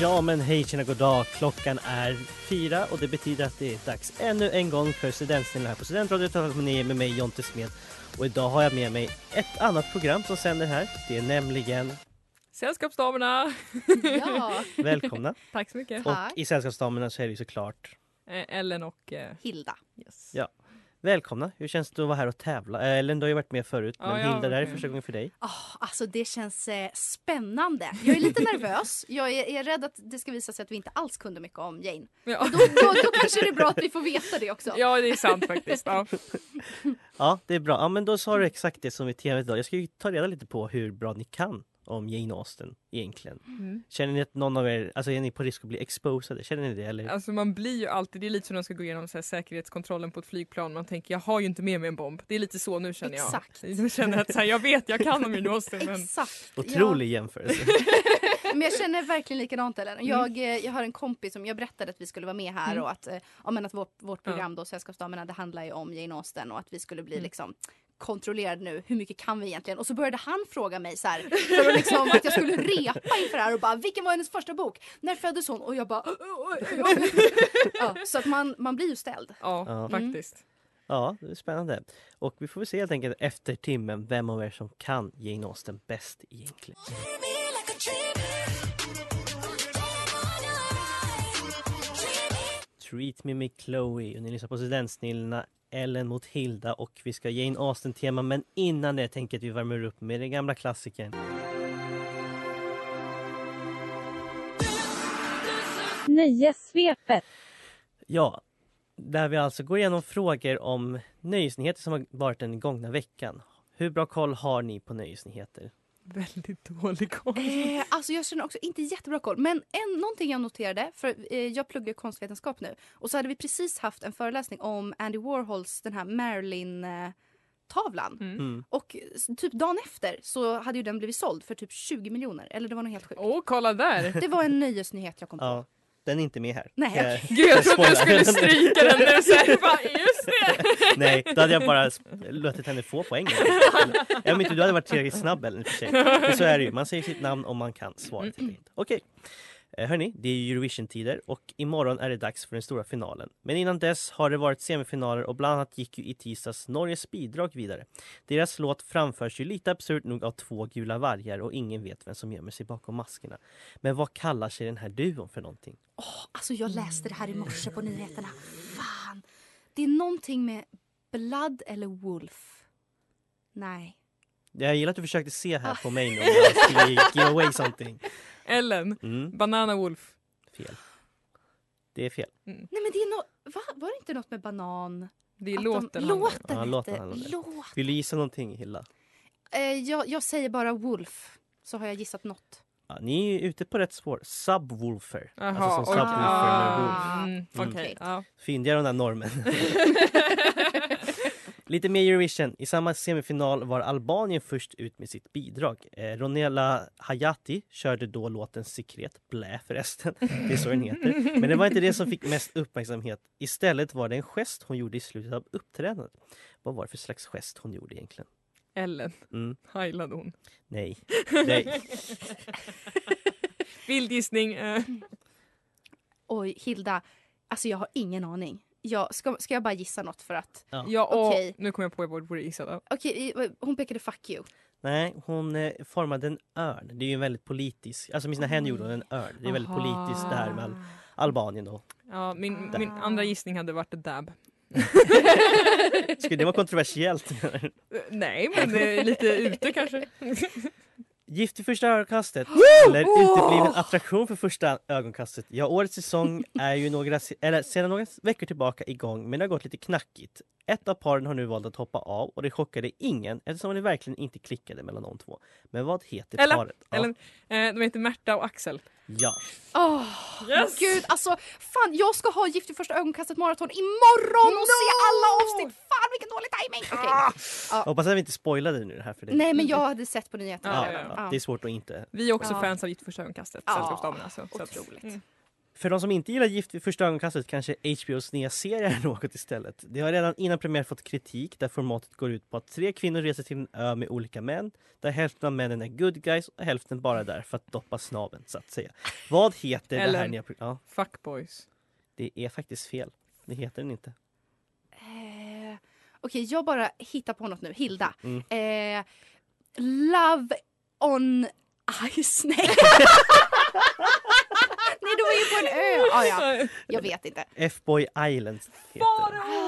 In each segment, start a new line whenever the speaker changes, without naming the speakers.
Ja men hej tjena goddag, klockan är fyra och det betyder att det är dags ännu en gång för Studentsnillen här på Studentradion 98,9 med mig Jonte Smed och idag har jag med mig ett annat program som sänder här. Det är nämligen
Sällskapsdamerna!
Ja,
Välkomna!
Tack så mycket.
Tack.
Och i Sällskapsdamerna så är det ju såklart
Eh, Ellen och... Eh,
Hilda.
yes.
Ja. Välkomna! Hur känns det att vara här och tävla? Eh, Ellen, du har ju varit med förut,
Ja,
men
jag har
Hilda, det här är
varit med.
första gången för dig.
Oh, alltså det känns eh, spännande. Jag är lite nervös. Jag är, är rädd att det ska visa sig att vi inte alls kunde mycket om Jane.
Ja.
Då, då, då kanske det är bra att vi får veta det också.
ja, det är sant faktiskt. Ja.
Ja, det är bra. Ja, men då sa du exakt det som vi tävlade idag. Jag ska ju ta reda lite på hur bra ni kan om Jane Austen egentligen.
Mm.
Känner ni att någon av er, alltså är ni på risk att bli exposade? Känner ni det eller?
Alltså man blir ju alltid, det är lite som när man ska gå igenom så här, säkerhetskontrollen på ett flygplan. Man tänker jag har ju inte med mig en bomb. Det är lite så nu känner jag.
Exakt.
Jag känner att så här, jag vet, jag kan om Junostin men
Exakt.
Otrolig jämförelse.
Ja, men jag känner verkligen likadant Ellen. Jag, eh, jag har en kompis som jag berättade att vi skulle vara med här och att, eh, ja, men att vårt, vårt program då, Sällskapsdamerna, det handlar ju om Jane Austen och att vi skulle bli liksom kontrollerad nu, hur mycket kan vi egentligen? Och så började han fråga mig så här, för att, liksom, att jag skulle repa inför det här och bara, vilken var hennes första bok? När föddes hon? Och jag bara, "Oj, oj, oj, oj." ja, så att man, man blir ju ställd.
ja,
Ja.
faktiskt.
Ja, det är spännande. Och vi får väl se helt enkelt efter timmen vem av er som kan Jane Austen bäst egentligen. Treat Me med Chloe och ni lyssnar på Studentsnillena Ellen mot Hilda och vi ska Jane Austen-tema men innan det tänker jag att vi värmer upp med den gamla klassikern.
Nöjessvepet.
Ja, där vi alltså går igenom frågor om nöjesnyheter som har varit den gångna veckan. Hur bra koll har ni på nöjesnyheter?
Väldigt dålig koll.
Eh, alltså jag känner också inte jättebra koll. Men en, någonting jag noterade, för eh, jag pluggar konstvetenskap nu. Och så hade vi precis haft en föreläsning om Andy Warhols den här Marilyn-tavlan.
Mm.
Och s- typ dagen efter så hade ju den blivit såld för typ 20 miljoner. Eller det var något helt sjukt.
Åh, kolla där!
Det var en nöjesnyhet jag kom på.
Ja, den är inte med här.
Nej,
Eh,
Gud, jag trodde jag
spoilar.
skulle stryka den nu så här, bara, just det!
Nej, då hade jag bara sp- låtit henne få poängen. Jag inte du hade varit tillräckligt snabb eller för sig. Men så är det ju, man säger sitt namn om man kan svaret. helt enkelt. Okej, Eh, hörni, det är ju Eurovision-tider och imorgon är det dags för den stora finalen. Men innan dess har det varit semifinaler och bland annat gick ju i tisdags Norges bidrag vidare. Deras låt framförs ju lite absurt nog av två gula vargar och ingen vet vem som gömmer sig bakom maskerna. Men vad kallar sig den här duon för någonting?
Alltså jag läste det här i morse på nyheterna. Fan! Det är någonting med Blood eller Wolf. Nej.
Jag gillar att du försökte se här på mig nu om jag skulle give away something.
Ellen,
Mm.
Banana Wolf.
Fel. Det är fel.
Nej men det är no- Va? Var det inte något med banan?
Det är
Att de-
låten. han-
låten,
Ja,
ja,
låten
låten
handlar om det.
hette... Låt.
Vill du gissa någonting Hilla?
Eh, jag, jag säger bara Wolf, så har jag gissat något.
Ja, ni är ju ute på rätt spår. Subwoofer.
Jaha,
alltså som
okej.
subwoofer med wolf.
Ah.
Mm, Okej,
Okej.
ja.
Fyndiga de där normen. Lite mer Eurovision. I samma semifinal var Albanien först ut med sitt bidrag. Eh, Ronela Hayati körde då låten Sekret, blä förresten, det är så den heter. Men det var inte det som fick mest uppmärksamhet. Istället var det en gest hon gjorde i slutet av uppträdandet. Vad var det för slags gest hon gjorde egentligen?
Ellen,
Mm,
heilade hon.
nej, nej.
Vild gissning. Eh.
Oj, Hilda. Alltså jag har ingen aning. Jag, ska, ska jag bara gissa något för att...
Ja, och
Okej.
nu kommer jag på vad jag borde gissa då.
Okej, i- eh, hon pekade 'fuck you'.
Nej, hon eh, formade en örn. Det är ju en väldigt politisk, alltså med sina händer gjorde hon en örn. Det är väldigt
Aha.
politiskt det här med Al- Albanien då.
Ja, min, min andra gissning hade varit dab.
Skulle det vara kontroversiellt?
Eh, Nej, men eh, lite ute kanske.
Gift i första ögonkastet eller utebliven attraktion för första ögonkastet. Ja, årets säsong är ju några, se- eller sedan några veckor tillbaka igång men det har gått lite knackigt. Ett av paren har nu valt att hoppa av och det chockade ingen eftersom det verkligen inte klickade mellan de två. Men vad heter
Ella,
paret? Ja,
Ellen, eh, de heter Märta och Axel.
ja.
Ah. Åh,
Yes!
gud alltså. Fan, jag ska ha Gift i första ögonkastet maraton imorgon och se alla avsnitt. Fan vilken dålig timing. Okej.
Ah. Jag hoppas att vi inte spoilade det nu det här för dig.
Nej men jag hade sett på nyheterna. Ah.
Ja,
redan.
ja,
Ja.
ja. Det är svårt att inte
Vi är också
Ja.
fans av Gift första ögonkastet,
Ja.
Sällskapsdamerna. Så, så att-
Otroligt.
Mm.
För de som inte gillar Gift vid första ögonkastet kanske HBOs nya serie är något istället. Det har redan innan premiär fått kritik där formatet går ut på att tre kvinnor reser till en ö med olika män där hälften av männen är good guys och hälften bara är där för att doppa snaben så att säga. Vad heter det här
Ellen.
nya pro- Ja,
Fuckboys.
det är faktiskt fel. Det heter den inte.
Eh, Okej, jag bara hittar på något nu. Hilda.
Mm.
Eh, love on ice. Nej. Nej, de är ju på en ö. Ah, ja. Jag vet inte.
F-Boy Island heter den.
Faro!
Det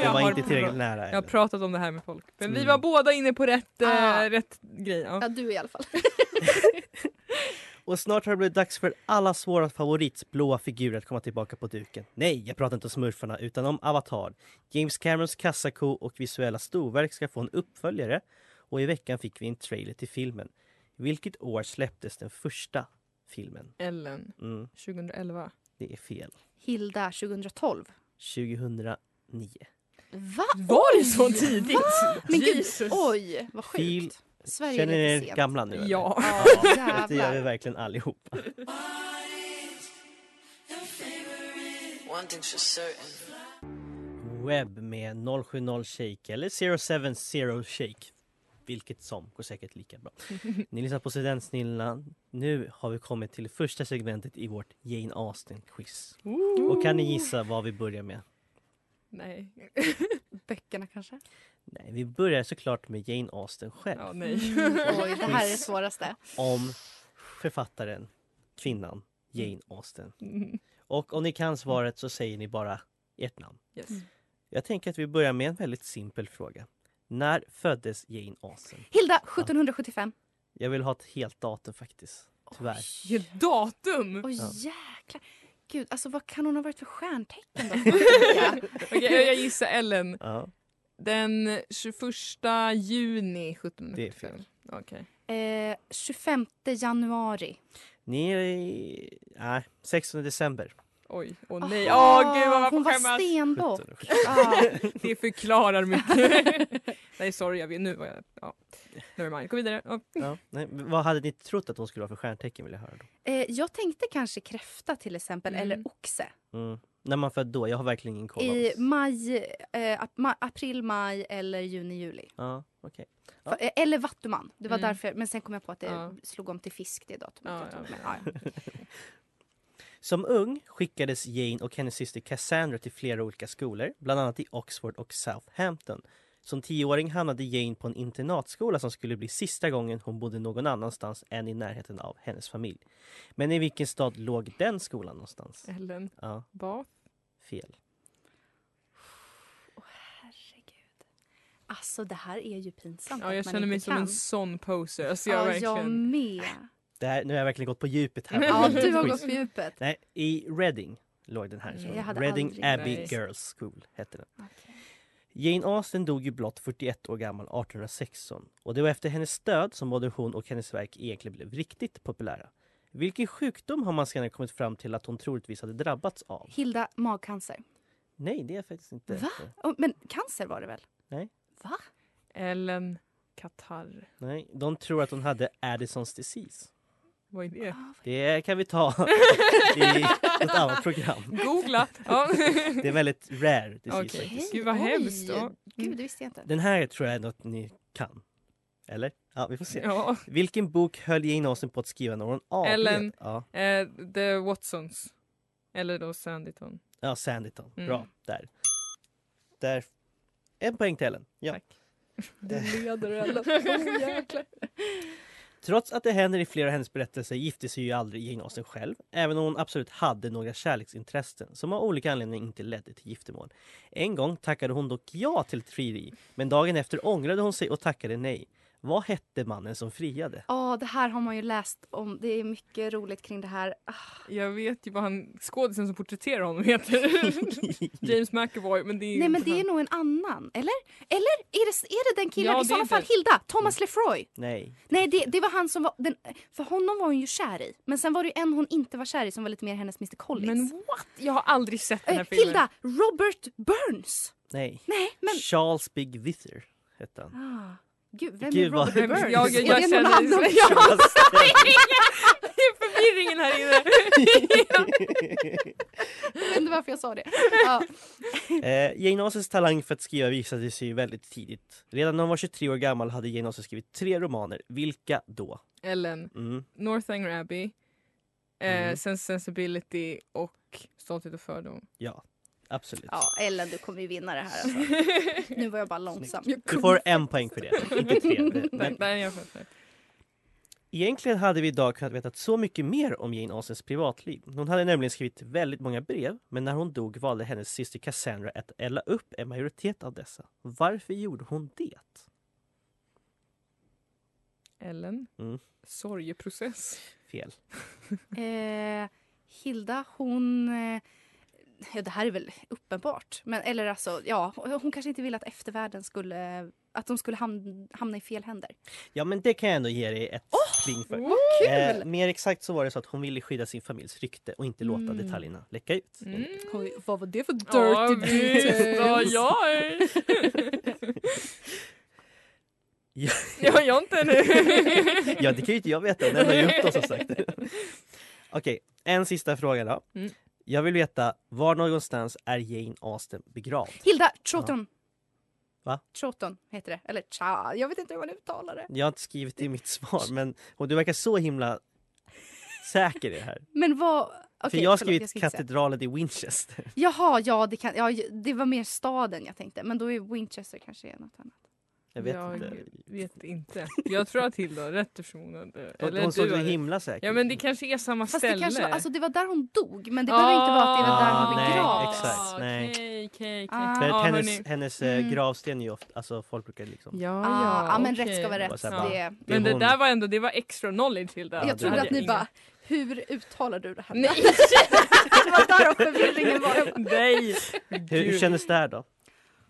Oh, Jag
var
har
inte
pra-
tillräckligt nära.
Jag har
Ellen.
pratat om det här med folk. Men vi
Mm.
var båda inne på rätt,
Ah.
eh, rätt grej. Ja.
Ja, du i alla fall.
Och snart har det blivit dags för allas våra favoritblåa figurer att komma tillbaka på duken. Nej, jag pratar inte om smurfarna utan om Avatar. James Camerons kassako och visuella storverk ska få en uppföljare och i veckan fick vi en trailer till filmen. Vilket år släpptes den första filmen?
Ellen,
Mm,
2011.
det är fel.
Hilda 2012.
2009.
Va?
Var det så tidigt?
Men gud, oj, vad sjukt.
Fil-
Sverige är
Känner ni
lite
er
sent.
gamla nu? eller?
Ja.
Ja,
Ja, det gör vi
jävlar.
verkligen allihopa.
One thing's for certain.
Webb med 070 Shake eller 070 Shake. Vilket som går säkert lika bra. Ni lyssnar på Studentsnillena. Nu har vi kommit till första segmentet i vårt Jane Austen-quiz. Och kan ni gissa vad vi börjar med?
Nej.
Böckerna kanske?
Nej, vi börjar såklart med Jane Austen själv.
Ja, nej.
Oj, det här är det svåraste.
Om författaren, kvinnan, Jane Austen. Och om ni kan svaret så säger ni bara ert namn.
Yes.
Jag tänker att vi börjar med en väldigt simpel fråga. När föddes Jane Austen?
Hilda 1775.
Jag vill ha ett helt datum faktiskt. Tyvärr.
Vilket datum!
Oj,
Ja.
jäklar. Gud, alltså vad kan hon ha varit för stjärntecken då? Ja.
Okej, jag- jag gissar Ellen.
Ja.
Den 21 juni 1775.
Det är fel.
Okej.
Eh, 25 januari.
Ni är i... Nej, 16 december.
Oj, åh nej. Åh gud vad man
Hon
får
var
skämmas.
stenbock.
17.
Ah,
Det förklarar mycket. nej sorry, jag vet, nu var jag... Ja. Never mind, gå vidare. Ja.
Ja. Nej, vad hade ni trott att hon skulle vara för stjärntecken vill jag höra då?
eh, jag tänkte kanske kräfta till exempel,
Mm.
eller oxe.
Mm. När man född då? Jag har verkligen ingen koll.
I
alls.
maj, eh, ap- ma- april, maj eller juni, juli.
Ja, okej. Ja.
Fa- eh, Eller vattuman. Det var
Mm.
därför, men sen kom jag på att det
Ja.
slog om till fisk det datumet.
Ja,
jag tror.
ja.
Men, ja, ja.
Som ung skickades Jane och hennes syster Cassandra till flera olika skolor, bland annat i Oxford och Southampton. Som tioåring hamnade Jane på en internatskola som skulle bli sista gången hon bodde någon annanstans än i närheten av hennes familj. Men i vilken stad låg den skolan någonstans?
Eh.
Ellen,
Ja,
vad?
fel.
Herregud. Alltså det här är ju pinsamt
Ja, jag
att man
känner mig
inte
som
kan.
en sån poser. Alltså, jag
Ja, jag
verkligen...
med.
Det här, nu har jag verkligen gått på djupet här.
Ja, du har
Quiz.
gått på djupet.
Nej, i Reading låg den här.
Nej,
skolan.
jag hade
Reading
aldrig-
Abbey
Nej.
Girls School hette den. Jane Austen dog ju blott 41 år gammal 1816 och det var efter hennes död som både hon och hennes verk egentligen blev riktigt populära. Vilken sjukdom har man senare kommit fram till att hon troligtvis hade drabbats av?
Hilda, magcancer.
Nej, det är faktiskt inte.
Va? Oh, men cancer var det väl?
Nej.
Va?
Ellen Qatar.
Nej, de tror att hon hade Addisons disease.
Vad är det?
Det kan vi ta i något annat program.
Ah.
Googla! Ja.
Det är väldigt rare disease
Okej.
faktiskt.
Gud vad
Oj.
hemskt. Ja.
Gud, det visste jag inte.
Den här tror jag är något ni kan. Eller? Ja, vi får se.
Ja.
Vilken bok höll Jane Austen på att skriva när hon avled?
Ellen.
Ja,
Eh, the Watsons. Eller då Sanditon.
ja Sanditon.
Mm.
Bra, där. Där. En poäng till Ellen. Ja.
Tack.
Eh,
Leder Ellen.
Trots att det händer i flera av hennes berättelser gifte sig ju aldrig Jane Austen själv, även om hon absolut hade några kärleksintressen som av olika anledningar inte ledde till giftermål. En gång tackade hon dock ja till ett frieri, men dagen efter ångrade hon sig och tackade nej. Vad hette mannen som friade?
Ja, det här har man ju läst om. Det är mycket roligt kring det här. Ah,
Jag vet ju vad han, skådisen som porträtterar honom heter. James McAvoy. Men det är ju
Nej, men
inte
det är
han.
nog en annan. Eller? Eller? Är det, är det den killen?
Ja,
I
det
sådana
är
fall
det.
Hilda. Thomas Lefroy.
Nej.
Nej, det, det var han som var... Den, för honom var hon ju kär i. Men sen var det ju en hon inte var kär i som var lite mer hennes Mr Collins.
Men what? Jag har aldrig sett den här
Eh,
filmen.
Hilda! Robert Burns!
Nej.
Nej, men...
Charles Big Wither hette han.
Ah, gud, vem
Gud,
är
vad-
Robert Burns?
Jag- jag- jag
är det
känner-
någon annan? Ja.
Charles-
Det är förvirringen här inne.
Jag vet inte varför jag sa det. Ja.
Eh, Jane Austens talang för att skriva visade sig ju väldigt tidigt. Redan när hon var 23 år gammal hade Jane Austen skrivit tre romaner. Vilka då?
Ellen,
Mm.
Northanger Abbey, eh,
Mm.
Sense and Sensibility och Stolthet och fördom.
Ja, absolut.
ja, Ellen, du kommer ju vinna det här. Alltså. Nu var jag bara långsam.
Du får en poäng för det. Inte tre. Det-
Mm.
Nej,
Men
nej, jag fattar.
egentligen hade vi idag kunnat veta så mycket mer om Jane Austens privatliv. Hon hade nämligen skrivit väldigt många brev, men när hon dog valde hennes syster Cassandra att elda upp en majoritet av dessa. Varför gjorde hon det?
Ellen,
Mm.
sorgeprocess.
Fel.
Eh, Hilda, hon... eh, Ja, det här är väl uppenbart. Men, eller alltså, ja, hon kanske inte ville att eftervärlden skulle... Att de skulle hamn, hamna i fel händer.
Ja, men det kan jag ändå ge dig ett pling för.
Vad
Eh, mer exakt så var det så att hon ville skydda sin familjs rykte och inte låta
Mm.
detaljerna läcka ut.
Mm.
Oj, vad var det för
Ja,
dirty
visst. Ja,
details?
jag är...
Ja.
Ja, jag inte nu.
Ja, det kan ju inte jag veta. Den har ju upp dem som sagt. Okej, en sista fråga då.
Mm.
Jag vill veta, var någonstans är Jane Austen begravd?
Hilda, Troughton.
Va?
Troughton heter det. Eller tja, jag vet inte hur man uttalar det.
Jag har inte skrivit det i mitt svar, men och du verkar så himla säker i det här.
Men vad...
För
okej,
jag har
förlåt,
skrivit
ska inte säga.
katedralen i Winchester.
Jaha, ja det, kan, ja det var mer staden jag tänkte. Men då är Winchester kanske något annat.
Jag vet
jag
inte.
vet inte. Jag tror att Hilda har rätt eftersom hon hade...
Hon, hon såg
du
så
har rätt.
himla säker
Ja, men det kanske är samma
Fast
ställe.
det kanske var, alltså det var där hon dog. Men det behöver inte vara att det var där hon
Ah, nej,
begravdes.
exakt, nej.
Okej, okej, okej.
Ah.
För att
Ja,
hennes
hörni.
hennes eh,
Mm.
gravsten är ju ofta, alltså folk brukar liksom...
Ja,
Ah, ja, men
okej.
rätt ska vara
Bara
rätt.
så här, bara-
Det,
Det är
Men det
hon.
där var ändå det var extra knowledge Hilda.
Ja,
jag
det
trodde
hade
att ni
ingen-
bara, hur uttalar du det här?
Nej.
det var därav förvirringen var.
Nej!
Hur, hur kändes det här då?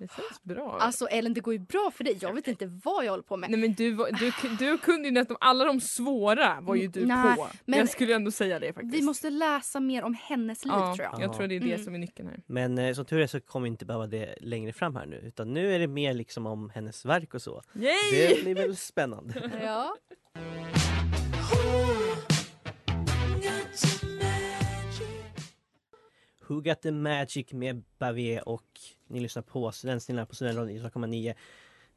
Det känns bra.
Alltså Ellen, det går ju bra för dig. Jag vet inte vad jag håller på med.
Nej men du, var- du, du kunde ju nästan, alla de svåra var ju du
Mm, Nej,
på.
men-
jag skulle ändå säga det faktiskt.
Vi måste läsa mer om hennes liv
ja,
tror jag.
Jag tror det är det
Mm.
som är nyckeln här.
Men eh, som tur är så kommer vi inte behöva det längre fram här nu utan nu är det mer liksom om hennes verk och så. Det
Yay!
blir väl spännande.
Ja.
Who Got The Magic med Bavé och ni lyssnar på Studentsnillan på Studentradion 9,9.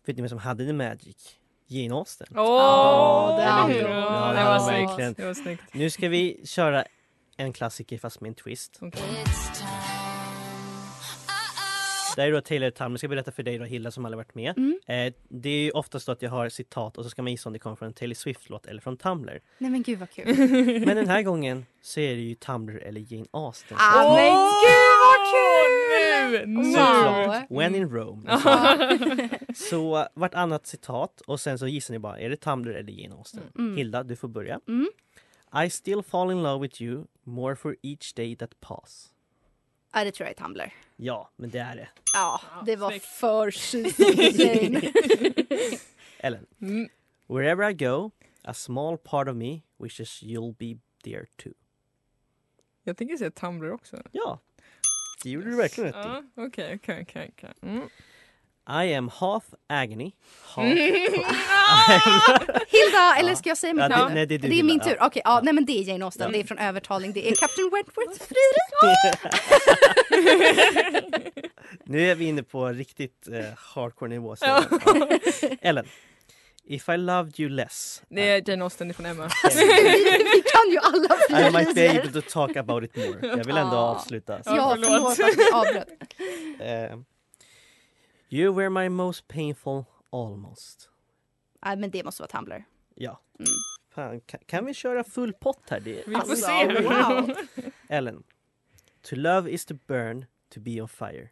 Vet ni vem som hade The Magic? Jane Austen.
Åh!
Ja, det
eller
hade
hur?
hon.
Ja,
det
ja,
var
verkligen.
snyggt. Det var snyggt.
Nu ska vi köra en klassiker fast med en twist.
Okej.
Det här är då Taylor Tam. Jag ska berätta för dig då Hilda som aldrig varit med.
Mm.
Eh, det är ju oftast så att jag har citat och så ska man gissa om det kommer från en Taylor Swift-låt eller från Tumblr.
Nej men gud vad kul.
Men den här gången så är det ju Tumblr eller Jane Austen.
Ah, men gud vad kul!
Nu! nu.
Ah, Wow.
When in Rome. Så vartannat citat och sen så gissar ni bara, är det Tumblr eller Jane Austen?
Mm.
Hilda, du får börja.
Mm.
I still fall in love with you more for each day that pass.
Ja det tror jag är Tumblr.
Ja, men det är det.
Ja, det var
snyggt.
för tjusigt Jane.
Ellen.
Mm.
Wherever I go, a small part of me wishes you'll be there too.
Jag tänker säga Tumblr också.
Ja, det gjorde du verkligen rätt i.
Ja, Okej, okej, okej. okej. Mm.
I am half agony, half... Ah!
Hilda, eller ska jag säga mitt
Ja, det-
namn?
nej, det är du,
det är min
Hilda.
tur. Okej, ja, nej men det är Jane Austen.
Ja.
Det är från Övertalning. Det är Captain Wentworths frieri.
Nu är vi inne på riktigt eh, hardcore nivå. Så. Ja. Ellen. If I loved you less
Det är Jane Austen ifrån Emma.
Vi, vi kan ju alla
I might be
frierier.
able to talk about it more. Jag vill ändå
Ah.
avsluta. så.
Ja, förlåt att vi avbröt.
Eh, you were my most painful almost.
Nej, men det måste vara Tumblr.
Ja.
Mm.
Fan, kan, kan vi köra full pott här? Det?
Vi får se. hur-
Alltså, wow.
Ellen. To love is to burn, to be on fire.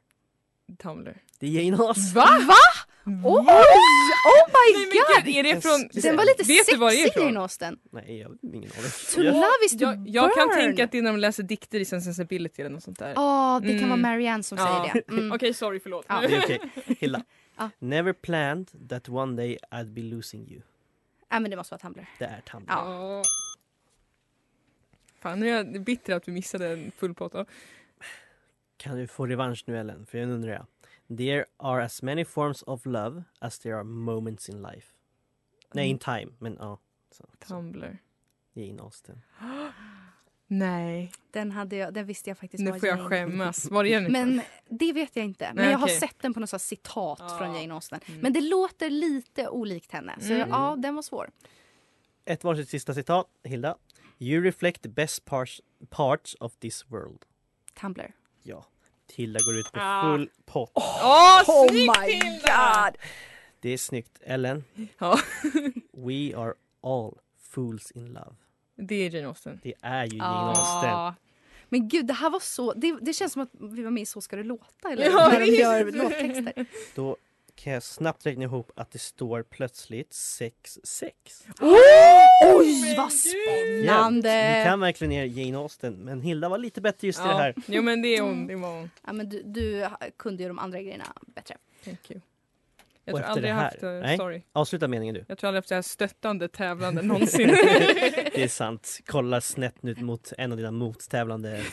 Tumblr.
Det är Jane Austen.
Va? Va?
Oj! Oh my
Nej, men
god!
gud, är det från...
Den var lite
Vet du var det är
sexig
ifrån?
Jane Austen.
Nej, jag har ingen aning.
To
Jag-
love is to
Jag, jag kan
burn.
tänka att det är när de läser dikter i Sense and Sensibility eller något sånt där.
Ja, Ah, det kan
Mm.
vara Marianne som
Ja.
säger det. Mm.
Okej, sorry, förlåt.
Ja.
Det är okej. Hilla.
Ja.
Never planned that one day I'd be losing you.
Ja, men det måste vara Tumblr.
Det är Tumblr.
Ja.
Ja. Fan, nu är jag bitter att vi missade en full pott. Ja.
Kan du få revansch nu Ellen? För jag undrar jag. There are as many forms of love as there are moments in life. Nej, in
Mm.
time. Men ja. Så, så.
Tumblr.
Jane Austen.
Nej,
Den, hade jag, den visste jag faktiskt
nu
var
får jag
Jane.
skämmas. Var är den?
Men det vet jag inte. Men
Nej,
jag har
okej.
sett den på något sånt citat
Ja.
från Jane Austen.
Mm.
Men det låter lite olikt henne. Så
Mm.
ja, den var svår.
Ett varsitt sista citat. Hilda. You reflect the best parts, parts of this world.
Tumblr.
Ja. Hilda går ut på
Ah.
full pott.
Åh,
Oh
snyggt Hilda!
Ah.
Det är snyggt. Ellen.
Ja.
We are all fools in love.
Det är Jane Austen.
Det är ju Jane Austen.
Ah.
Men gud, det här var så... Det, det känns som att vi var med i Så ska det låta. Eller
Ja,
när de
visst.
gör låttexter.
Då kan jag snabbt räkna ihop att det står plötsligt 6-6.
Oj,
men
vad
gud.
spännande!
Vi kan verkligen ge Jane Austen, men Hilda var lite bättre just i det här.
Jo men det är hon, det var hon.
Ja, men du, du kunde ju de andra grejerna bättre.
Thank you.
Och
Jag tror
efter
aldrig jag
det
haft,
här-
eh,
nej.
sorry.
Avsluta meningen du.
Jag tror aldrig jag haft det här stöttande tävlande någonsin.
Det är sant. Kolla snett nu mot en av dina mottävlande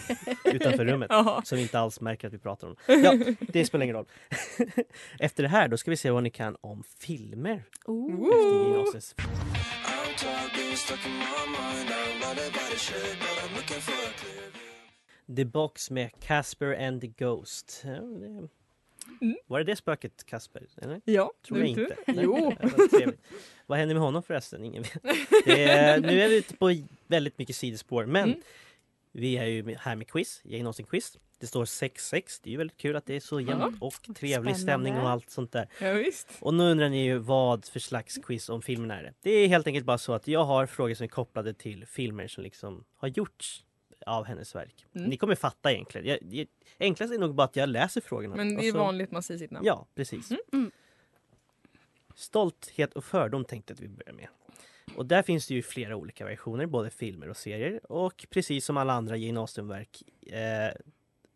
utanför rummet.
ja.
Som inte alls märker att vi pratar om. Ja, det spelar ingen roll. Efter det här då ska vi se vad ni kan om filmer. Efter Jane
Ooh.
Austens
I'm tired of being stuck in my mind. I don't know about the shit, but I'm looking for a clear view.
The Box med Casper and the Ghost. Ja, det- Var det det spöket Casper? Eller?
Ja,
Tror jag
vet Mm. du.
inte. Nej.
Jo.
Ja, vad trevligt. Vad händer med honom förresten? Ingen vet. Det är, nu är vi ute på väldigt mycket sidospår men
Mm.
vi är ju här med quiz, Jane Austen-quiz. Det står 6-6. Det är ju väldigt kul att det är så jämnt och trevlig stämning och
Spännande.
allt sånt där.
Ja, visst.
Och nu undrar ni ju vad för slags quiz om filmerna är det. Det är helt enkelt bara så att jag har frågor som är kopplade till filmer som liksom har gjorts av hennes verk.
Mm.
Ni kommer fatta egentligen. Jag, jag, enklast är nog bara att jag läser frågorna.
Men
Och
det är
så-
vanligt man säger sitt namn.
Alltså- Ja, precis.
Mm.
Stolthet och fördom tänkte jag att vi börjar med. Och där finns det ju flera olika versioner, både filmer och serier. Och precis som alla andra Jane Austen-verk, eh,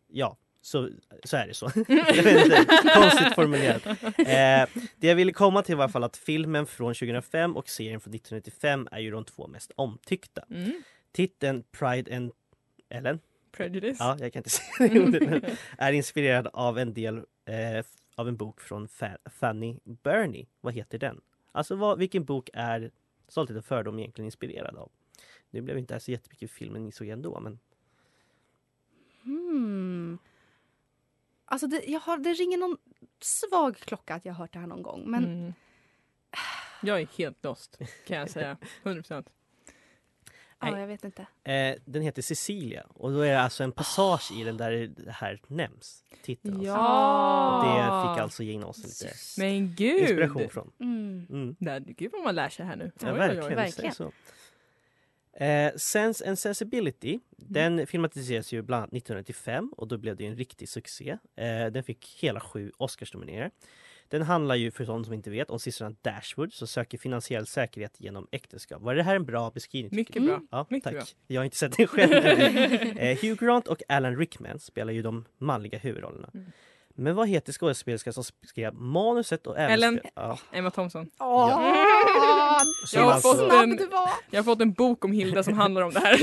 ja, så, så är det så. Jag vet inte, Konstigt formulerat. Eh, det jag ville komma till var i alla fall att filmen från 2005 och serien från 1995 är ju de två mest omtyckta.
Mm.
Titeln Pride and... Ellen?
Prejudice.
Ja, jag kan inte säga det ordet, men Är inspirerad av en del eh, f- av en bok från Fa- Fanny Burney. Vad heter den? Alltså vad, vilken bok är Stolthet och fördom egentligen inspirerad av? Nu blev inte det här så jättemycket filmen insåg jag ändå men
Hmm. Alltså det, jag har, det ringer någon svag klocka att jag har hört det här någon gång. Men
Mm. Jag är helt lost kan jag säga. 100%.
ja,
nej.
jag vet inte.
eh, den heter Cecilia och då är det alltså en passage i den där det här nämns. Titeln alltså. Och det fick alltså Jane Austen lite
Ah. Men gud!
inspiration från.
Mm.
Mm.
Nej, gud vad man lär sig här nu.
Ja,
Oj, oj, oj.
verkligen. visst är det Så. Eh, Sense and Sensibility,
Mm.
den filmatiseras ju bland annat 1995 och då blev det ju en riktig succé. Eh, den fick hela sju Oscarsnomineringar. Den handlar ju, för de som inte vet, om systrarna Dashwood som söker finansiell säkerhet genom äktenskap. Var det här en bra beskrivning? tycker
Mycket
du?
bra.
Ja,
mycket
tack.
bra.
Jag har inte sett den själv. eh, Hugh Grant och Alan Rickman spelar ju de manliga huvudrollerna.
Mm.
Men vad heter skådespelerskan som skrev manuset och även...
Ellen.
spe- Ja,
Emma Thompson.
Ah.
Åh,
som
Jag har
alltså-
fått
vad
en-
snabb du var!
Jag har fått en bok om Hilda som handlar om det här.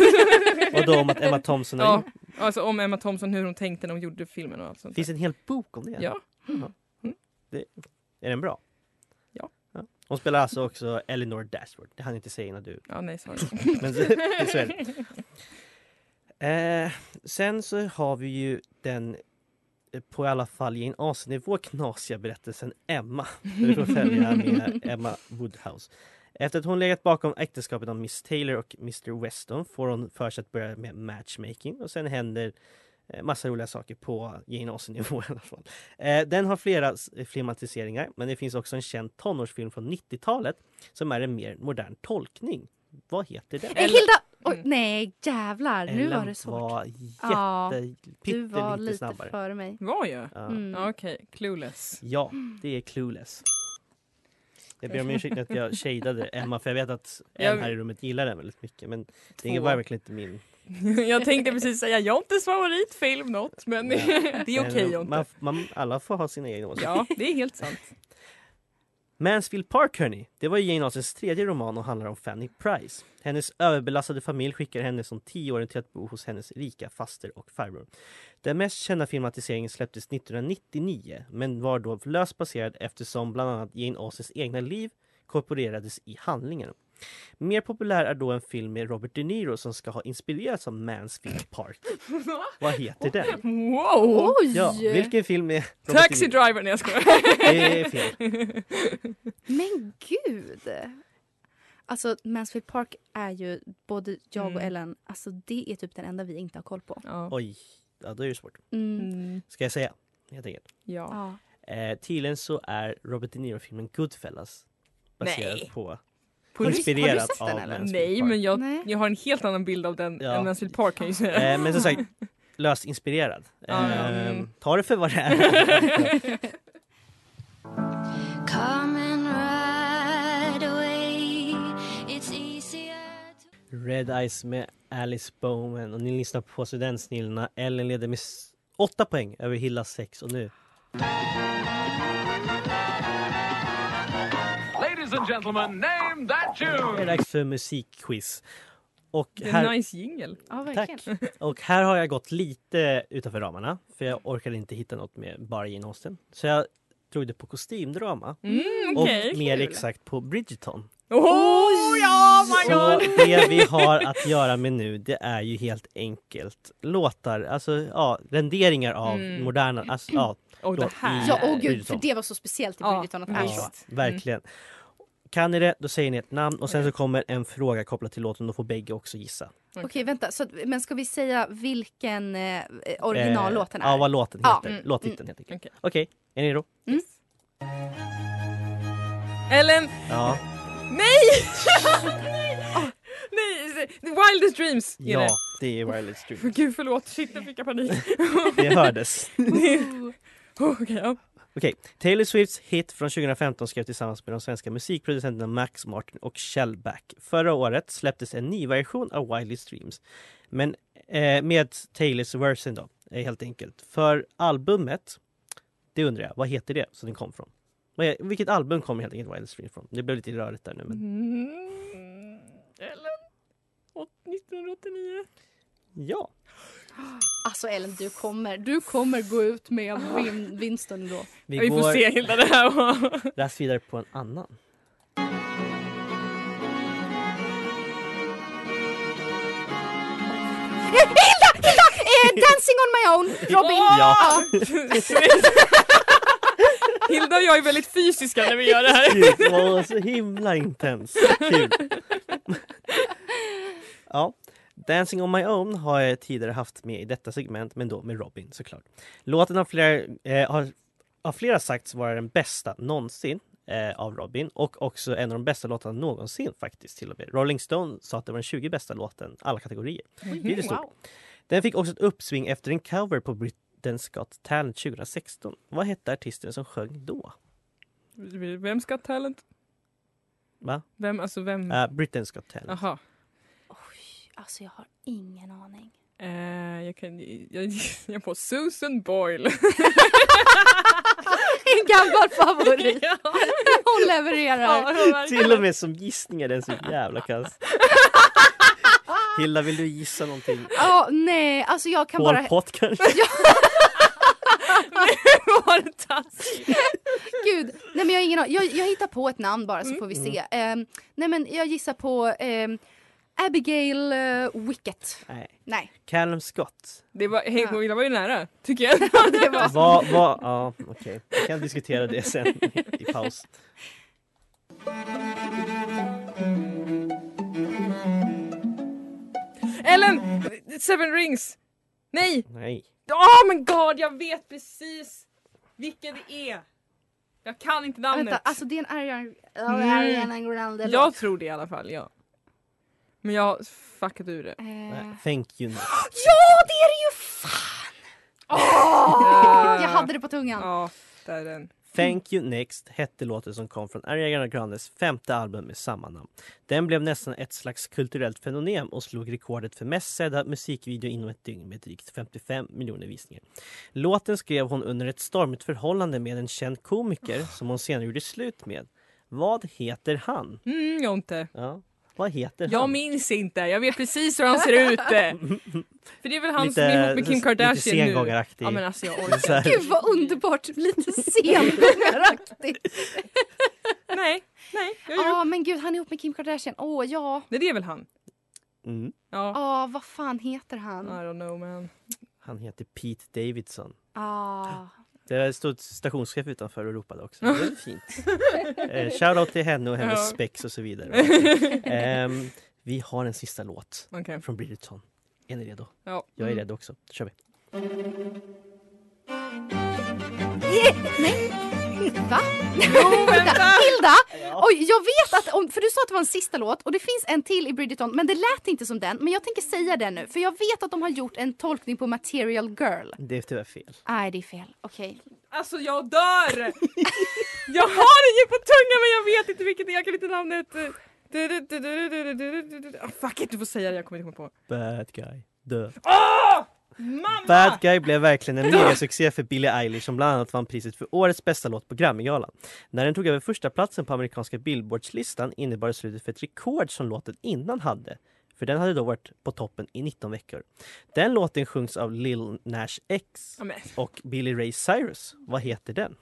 Vadå om att Emma Thompson har
ja, alltså om Emma Thompson, hur hon tänkte när hon gjorde filmen och allt sånt. där.
Finns det en hel bok om det?
Ja. Mm.
Är den bra?
Ja.
Hon spelar alltså också Eleanor Dashwood. Det hann jag inte säga innan du...
ja, nej sorry.
Men så, det- så är det. Eh, sen så har vi ju den eh, på i alla fall i en AC-nivå knasiga berättelsen Emma. Där vi får följa med Emma Woodhouse. Efter att hon legat bakom äktenskapet av Miss Taylor och Mr Weston får hon för sig att börja med matchmaking och sen händer eh, massa roliga saker på Jane Austen-nivå i alla fall. Eh, den har flera s- filmatiseringar men det finns också en känd tonårsfilm från 90-talet som är en mer modern tolkning. Vad heter den?
Eh, Hilda, Oj,
Mm.
nej jävlar, nu
Ellen
var det svårt.
var
Ja,
jätte,
Du var
pyttelite
lite
snabbare.
före mig.
Var jag?
Ja.
Mm.
Ja, Okej, clueless.
Ja, det är Clueless. Jag ber om ursäkt att jag shadeade Emma för jag vet att en
Jag-
här i rummet gillar den väldigt mycket men det
Två.
var verkligen inte min.
jag tänkte precis säga Jontes favoritfilm något men det är okej
Men,
Jonte.
Eh, man, man, alla får ha sina egna åsikter.
Ja, det är helt sant.
Mansfield Park hörni, det var ju Jane Austens tredje roman och handlar om Fanny Price. Hennes överbelastade familj skickar henne som tioåring till att bo hos hennes rika faster och farbror. Den mest kända filmatiseringen släpptes 1999 men var då löst baserad eftersom bland annat Jane Austens egna liv korporerades i handlingen. Mer populär är då en film med Robert De Niro som ska ha inspirerats av Mansfield Park. Vad heter den?
Wow!
Oj!
Ja, vilken film är Robert De Niro?
Taxi driver! Nej jag skojar.
Det är fel.
Men gud! Alltså Mansfield Park är ju både jag och
Mm.
Ellen, alltså det är typ den enda vi inte har koll på.
Ja.
Oj, ja, då är det svårt.
Mm.
Mm,
Ska jag säga helt enkelt?
ja.
Ja.
Eh, tydligen så är Robert De Niro-filmen Goodfellas baserad
Nej. på
på...
du-
inspirerad
har du sett
av
den, eller?
Mansfield
Nej
Park.
men jag,
Nej.
jag har en helt annan bild av den
Ja.
än Mansfield Park kan jag ju säga.
Eh, men som sagt, löst inspirerad.
Ja, ja.
Eh,
Mm.
Ta det för vad det är.
Coming right away. It's easier to
Red Eyes med Alice Bowman och ni lyssnar på Studentsnillena. Ellen leder med s- åtta poäng över Hilla 6 och nu...
Ladies and gentlemen, name that
är det
tune!
dags för musikquiz. Och
Det är en
här,
nice jingle.
ja, verkligen.
tack. och här har jag gått lite utanför ramarna för jag orkade inte hitta något med bara Jane Austen. Så jag drog det på kostymdrama
Mm,
och
okej.
mer exakt på Bridgerton.
Oh ja, oh my
Så
god!
det vi har att göra med nu det är ju helt enkelt låtar, alltså ja, renderingar av
Mm.
moderna, alltså, ja,
Och det
Då-
här.
Ja, åh
Bridgerton.
gud, för det var så speciellt i
Äh, Ja,
Bridgerton att det är
Mm. visst.
så.
ja alltså, verkligen. Kan ni det, då säger ni ett namn och
Mm.
sen så kommer en fråga kopplat till låten, då får bägge också gissa.
Okej, vänta. Så, att- men ska vi säga vilken eh, originallåten
Eh,
är?
Ja, vad låten
Ja.
heter.
Mm.
Låttiteln helt enkelt.
Okej.
Okej, är ni redo?
Ellen,
Ja.
nej! Ah, nej! The Wildest Dreams är
Ja,
det.
det är Wireless Dream.
För gud förlåt, shit jag fick jag panik.
Det hördes.
oh, okay, ja.
Okej, Taylor Swifts hit från 2015 skrev tillsammans med de svenska musikproducenterna Max Martin och Shellback. Förra året släpptes en ny version av Wildest Dreams, men eh, med Taylors version då, eh, helt enkelt. För albumet, det undrar jag, vad heter det som den kom från? Vad är- Vilket album kommer helt enkelt Wildest Dreams från? Det blev lite rörigt där nu, men
Mm, Ellen, åt- 1989.
ja.
Alltså Ellen, du kommer, du kommer gå ut med vin, vinsten då.
Vi,
Vi,
går
får se hela det här var.
raskt vidare på en annan.
Eh, dancing on my own, Robin!
Ja.
Hilda och jag är väldigt fysiska när vi gör det här.
Gud, Typ, det var så himla intens. Kul. Ja. Dancing on my own har jag tidigare haft med i detta segment, men då med Robin såklart. Låten har flera, eh, har, har flera sagts vara den bästa någonsin eh, av Robin och också en av de bästa låtarna någonsin faktiskt till och med. Rolling Stone sa att det var den 20 bästa låten, alla kategorier. Mm, Det är ju stort.
Wow.
Den fick också ett uppsving efter en cover på Britain's Got Talent 2016. Vad hette artisten som sjöng då?
Vem ska ha talent?
Va?
Vem, alltså vem?
Eh, Britain's Got Talent.
Aha.
Oj, alltså jag har ingen aning.
Eh, jag kan jag gissar på Susan Boyle.
En gammal favorit! Hon levererar.
Till och med som gissning är den så jävla kass. Hilda, vill du gissa någonting?
Ja, nej, alltså jag kan
Pol
bara...
Pot kanske?
var det taskigt?
Gud, nej men jag har ingen aning. Jag, jag hittar på ett namn bara så får vi se. Ehm, nej men jag gissar på ehm, Abigail eh, Wicket.
Nej.
Nej.
Callum Scott.
Det var, hej, Gunilla var ju nära, tycker jag.
Det var...
Vad, vad, ja okej. Vi kan diskutera det sen i paus.
Ellen! Seven Rings! Nej!
Nej.
Oh my god, jag vet precis vilken det är! Jag kan inte namnet.
Mm. Vänta, alltså det är en Ariana, Ariana Grande
jag tror det i alla fall, ja. Men jag har fuckat ur det.
Eh,
Thank you. Nick.
ja, det är det ju! Fan!
Eh,
Jag hade det på tungan.
Ja, där är den.
Thank you next hette låten som kom från Ariana Grandes femte album med samma namn. Den blev nästan ett slags kulturellt fenomen och slog rekordet för mest sedda musikvideo inom ett dygn med drygt 55 miljoner visningar. Låten skrev hon under ett stormigt förhållande med en känd komiker som hon senare gjorde slut med. Vad heter han?
Mm, jag har inte.
Ja, vad heter
Jag
han?
minns inte. Jag vet precis hur han ser ut. För det är väl han som är ihop med Kim
Lite
Kardashian nu.
sengångaraktig.
Ja men alltså jag orkar
Så här-
Gud vad underbart, lite sengångaraktigt.
Nej, nej. Jag gör-
Ja men gud han är ihop med Kim Kardashian, åh ja.
Nej, det är väl han?
mm,
Ja.
Ja vad fan heter
I
han?
don't know man.
han heter Pete Davidson.
Ja.
Det stod stationschef utanför och ropade också. Det är fint. Eh, Shoutout till henne och hennes
Ja.
spex och så vidare. Ehm, vi har en sista låt
Okej.
från Bridgerton. Är ni redo?
Ja.
Jag är redo också. Då kör vi.
Va? Hilda! Hilda! Oj, jag vet att, om, för du sa att det var en sista låt och det finns en till i Bridgerton men det lät inte som den. Men jag tänker säga den nu för jag vet att de har gjort en tolkning på Material Girl.
Det är tyvärr fel.
Nej det är fel, okej.
Alltså jag dör! jag har den ju på tungan men jag vet inte vilket det är. Jag kan inte namnet. Du, du, du, du, du, du, du, du, du. Ah, fuck it, du får säga det. Jag kommer inte komma på.
Bad guy. Dö.
Mamma!
Bad guy blev verkligen en megasuccé för Billie Eilish som bland annat vann priset för årets bästa låt på Grammygalan. När den tog över första platsen på amerikanska Billboardslistan innebar det slutet för ett rekord som låten innan hade. För den hade då varit på toppen i 19 veckor. Den låten sjungs av Lil Nash X
Ja, men,
och Billy Ray Cyrus. Vad heter den?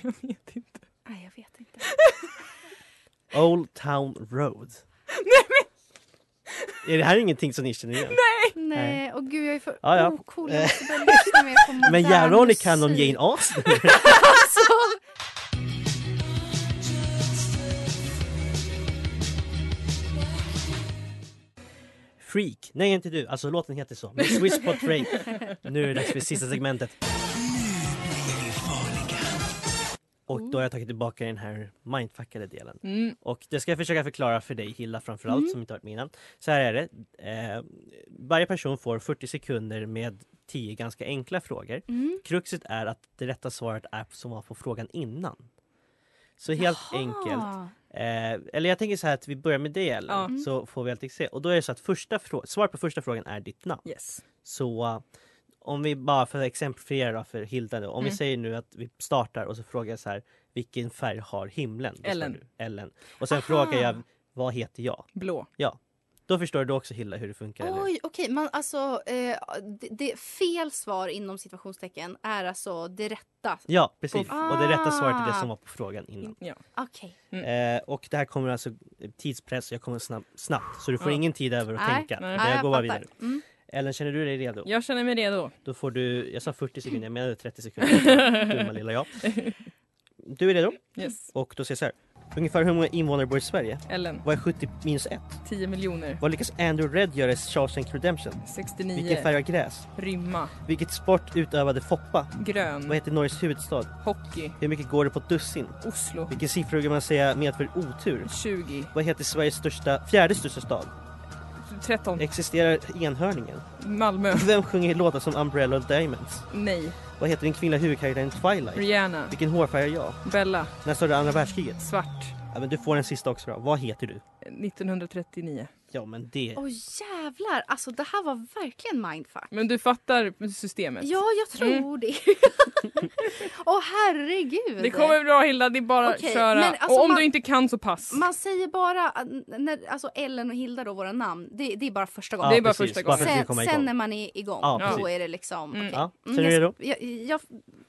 jag vet inte.
Nej jag vet inte.
Old Town Road. Är det här ingenting som ni känner igen?
Nej, och gud jag är för
Ja, ja.
ocool. Jag måste börja lyssna mer på modern
Men jävlar om ni kan om
musik.
Jane Austen! Freak. Nej, inte du. Alltså låten heter så. Miss Swiss Pot Freak. Nu är det dags för sista segmentet. Och då har jag tagit tillbaka den här mindfuckade delen.
Mm.
Och det ska jag försöka förklara för dig Hilda framförallt som inte har hört mig innan. Så här är det. Eh, varje person får 40 sekunder med 10 ganska enkla frågor.
Mm.
Kruxet är att det rätta svaret är som var på frågan innan. Så helt enkelt
Ah.
Eh, eller jag tänker så här att vi börjar med det Ellen,
Ja.
Mm.
så får vi alltid se. Och då är det så att första frå- svaret på första frågan är ditt namn.
Yes.
Så eh, om vi bara för att exemplifiera då för Hilda nu. Om vi
Mm.
säger nu att vi startar och så frågar jag så här vilken färg har himlen? Då svarar
Ellen.
Du, Ellen. Och sen
Aha.
frågar jag vad heter jag?
Blå.
Då förstår du också Hilda hur det funkar. eller?
Oj, okej. Men alltså, eh, det, det, fel svar inom situationstecken är alltså det rätta.
Ja precis,
På-
och det rätta svaret är det
Ah.
som var på frågan innan.
Ja.
Okej.
Eh, och det här kommer alltså tidspress, jag kommer snabb, snabbt så du får
Ja.
ingen tid över att
Nej.
tänka.
Nej.
Det
Ja,
här
jag
går bara
fattar.
vidare.
Mm.
Ellen känner du dig redo?
Jag känner mig redo.
Då får du, jag sa 40 sekunder, jag menade 30 sekunder. Dumma lilla jag. Du är redo
Yes.
och då säger jag så här. Ungefär hur många invånare bor i Sverige?
Ellen.
Vad är 70 minus 1?
10 miljoner.
Vad lyckas Andrew Red göra i Shawshank Redemption? Vilken
69.
färg har gräs?
Rymma.
Vilket sport utövade Foppa? Vad
Grön.
heter Norges huvudstad?
Hockey.
Hur mycket går det på ett dussin?
Oslo.
Vilken siffra brukar man säga medför otur?
20.
Vad heter Sveriges största, fjärde största stad?
13.
Existerar enhörningen?
Malmö.
Vem sjunger låtar som Umbrella och Diamonds?
Nej.
Vad heter den kvinnliga huvudkaraktären i Twilight?
Rihanna.
Vilken hårfärg har jag?
Bella.
När startade andra världskriget?
Svart.
Ja, men du får den sista också då. Vad heter du?
1939.
Ja men det...
Åh jävlar, alltså det här var verkligen mindfuck.
Men du fattar systemet?
Ja, jag tror
Mm.
det. Åh herregud.
Det kommer bra Hilda, det är bara att
Okej,
köra.
men alltså
och om
man-
du inte kan så pass.
Man säger bara, att när, alltså Ellen och Hilda då, våra namn, det, det är bara första
Ja,
gången.
är bara
precis.
första
Bara för att vi
sen,
kommer
sen
igång.
när man är igång,
Ja,
då
precis.
är det liksom...
Mm.
okej.
Ja,
Mm,
så är du
jag-
redo?
Jag, jag,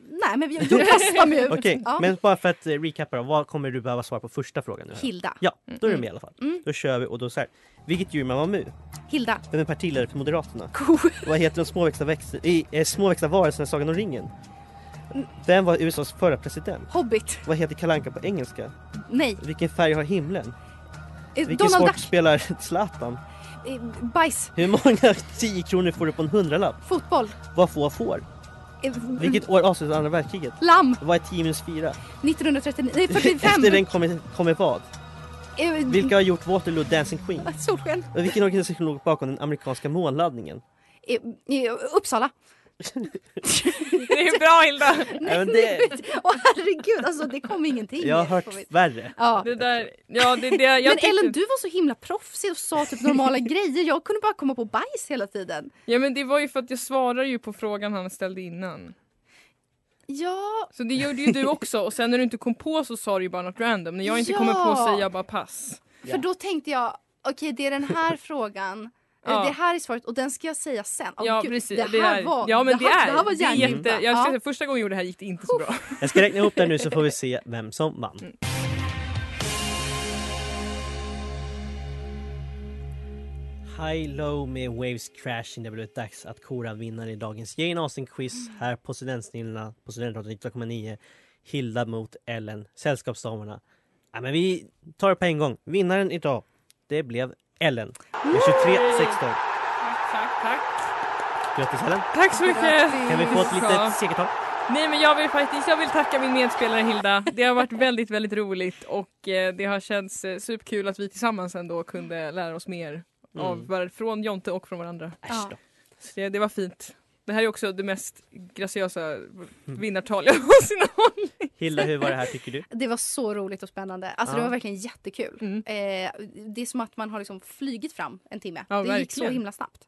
nej, men jag, jag kastar mig ut.
Okej,
Ja.
men bara för att eh, recappa då. Vad kommer du behöva svara på första frågan nu? här?
Hilda.
Ja, då är du med i alla fall.
Mm.
Då kör vi och då så här. Vilket djur man var mu?
Hilda.
Vem är partiledare för Moderaterna?
Ko.
Vad heter de småväxta, växter, i, eh, småväxta varelserna i Sagan om ringen? Vem var USAs förra president?
Hobbit.
Vad heter Kalanka på engelska?
Nej.
Vilken färg har himlen?
Eh,
Vilken
Donald
sport
Duck.
spelar Zlatan?
Eh, Bajs.
Hur många 10 kronor får du på en hundralapp?
Fotboll.
Vad få får?
Eh,
Vilket år avslutades andra världskriget?
Lamm.
Vad är 10 minus 4?
1939. Nej, 45.
Efter den kommer, kommer vad?
Eh,
Vilka har gjort Waterloo Dancing Queen?
Solsken.
Och vilken organisation låg bakom den amerikanska månlandningen?
Eh, eh, Uppsala.
Det är bra Hilda!
Även det,
Åh herregud, alltså det kom ingenting.
jag har hört värre.
Ja.
Det där, ja det, det, jag
men
tyckte-
Ellen, du var så himla proffsig och sa typ normala grejer. Jag kunde bara komma på bajs hela tiden.
Ja men det var ju för att jag svarade ju på frågan han ställde innan.
Ja,
Så det gjorde ju du också och sen när du inte kom på så sa du ju bara något random. När jag inte
Ja.
kommer på säger jag bara pass.
för då tänkte jag, okej det är den här frågan.
Ja.
eh, Det här är svaret och den ska jag säga sen. Åh,
ja
gud,
precis.
Det här
är-
var,
ja, men
det
det
här,
är,
det här var
det är jätte,
hjärngympa.
jag ska säga, Första gången jag gjorde det här gick det inte så bra.
Jag ska räkna ihop det nu så får vi se vem som vann. High Low med Waves Crashing. Det har blivit dags att kora vinnare i dagens Jane Austen-quiz här på Studentsnillena på Studentradion 19,9. Hilda mot Ellen, Sällskapsdamerna. Ja, men vi tar det på en gång. Vinnaren idag, det blev Ellen. Med 23-16.
Tack, tack.
Grattis Ellen!
Tack så mycket!
Kan vi få ett
Ja.
litet segertal?
Nej men jag vill faktiskt jag vill tacka min medspelare Hilda. Det har varit väldigt, väldigt roligt och eh, det har känts eh, superkul att vi tillsammans ändå kunde lära oss mer av,
Mm.
var- från Jonte och från varandra.
Ja.
Så det, det var fint. Det här är också det mest graciösa
Mm.
vinnartal jag någonsin har hållit.
Hilda, hur var det här tycker du?
Det var så roligt och spännande. Alltså
Ja.
det var verkligen jättekul.
Mm.
Eh, det är som att man har liksom flygit fram en timme.
Ja,
det gick så
verkligen.
himla snabbt.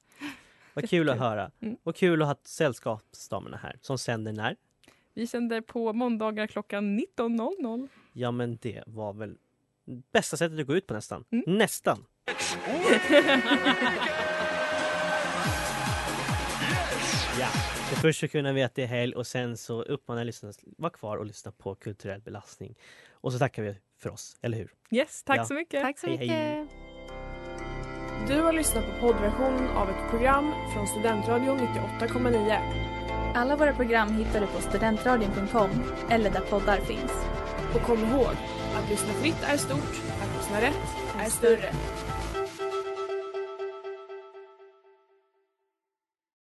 Vad kul att höra. Och kul att ha Sällskapsdamerna här som sänder när?
Vi sänder på måndagar klockan 19.00.
Ja men det var väl bästa sättet att gå ut på nästan.
Mm.
Nästan. ja, det först så kunde vi att det är helg och sen så uppmanar jag lyssnarna att vara kvar och lyssna på kulturell belastning. Och så tackar vi för oss, eller hur?
Yes, tack
Ja.
så mycket.
Tack så
Hej, hej.
mycket.
Du har lyssnat på poddversionen av ett program från Studentradion 98,9.
Alla våra program hittar du på studentradion.com eller där poddar finns.
Och kom ihåg, att lyssna fritt är stort, att lyssna rätt är större.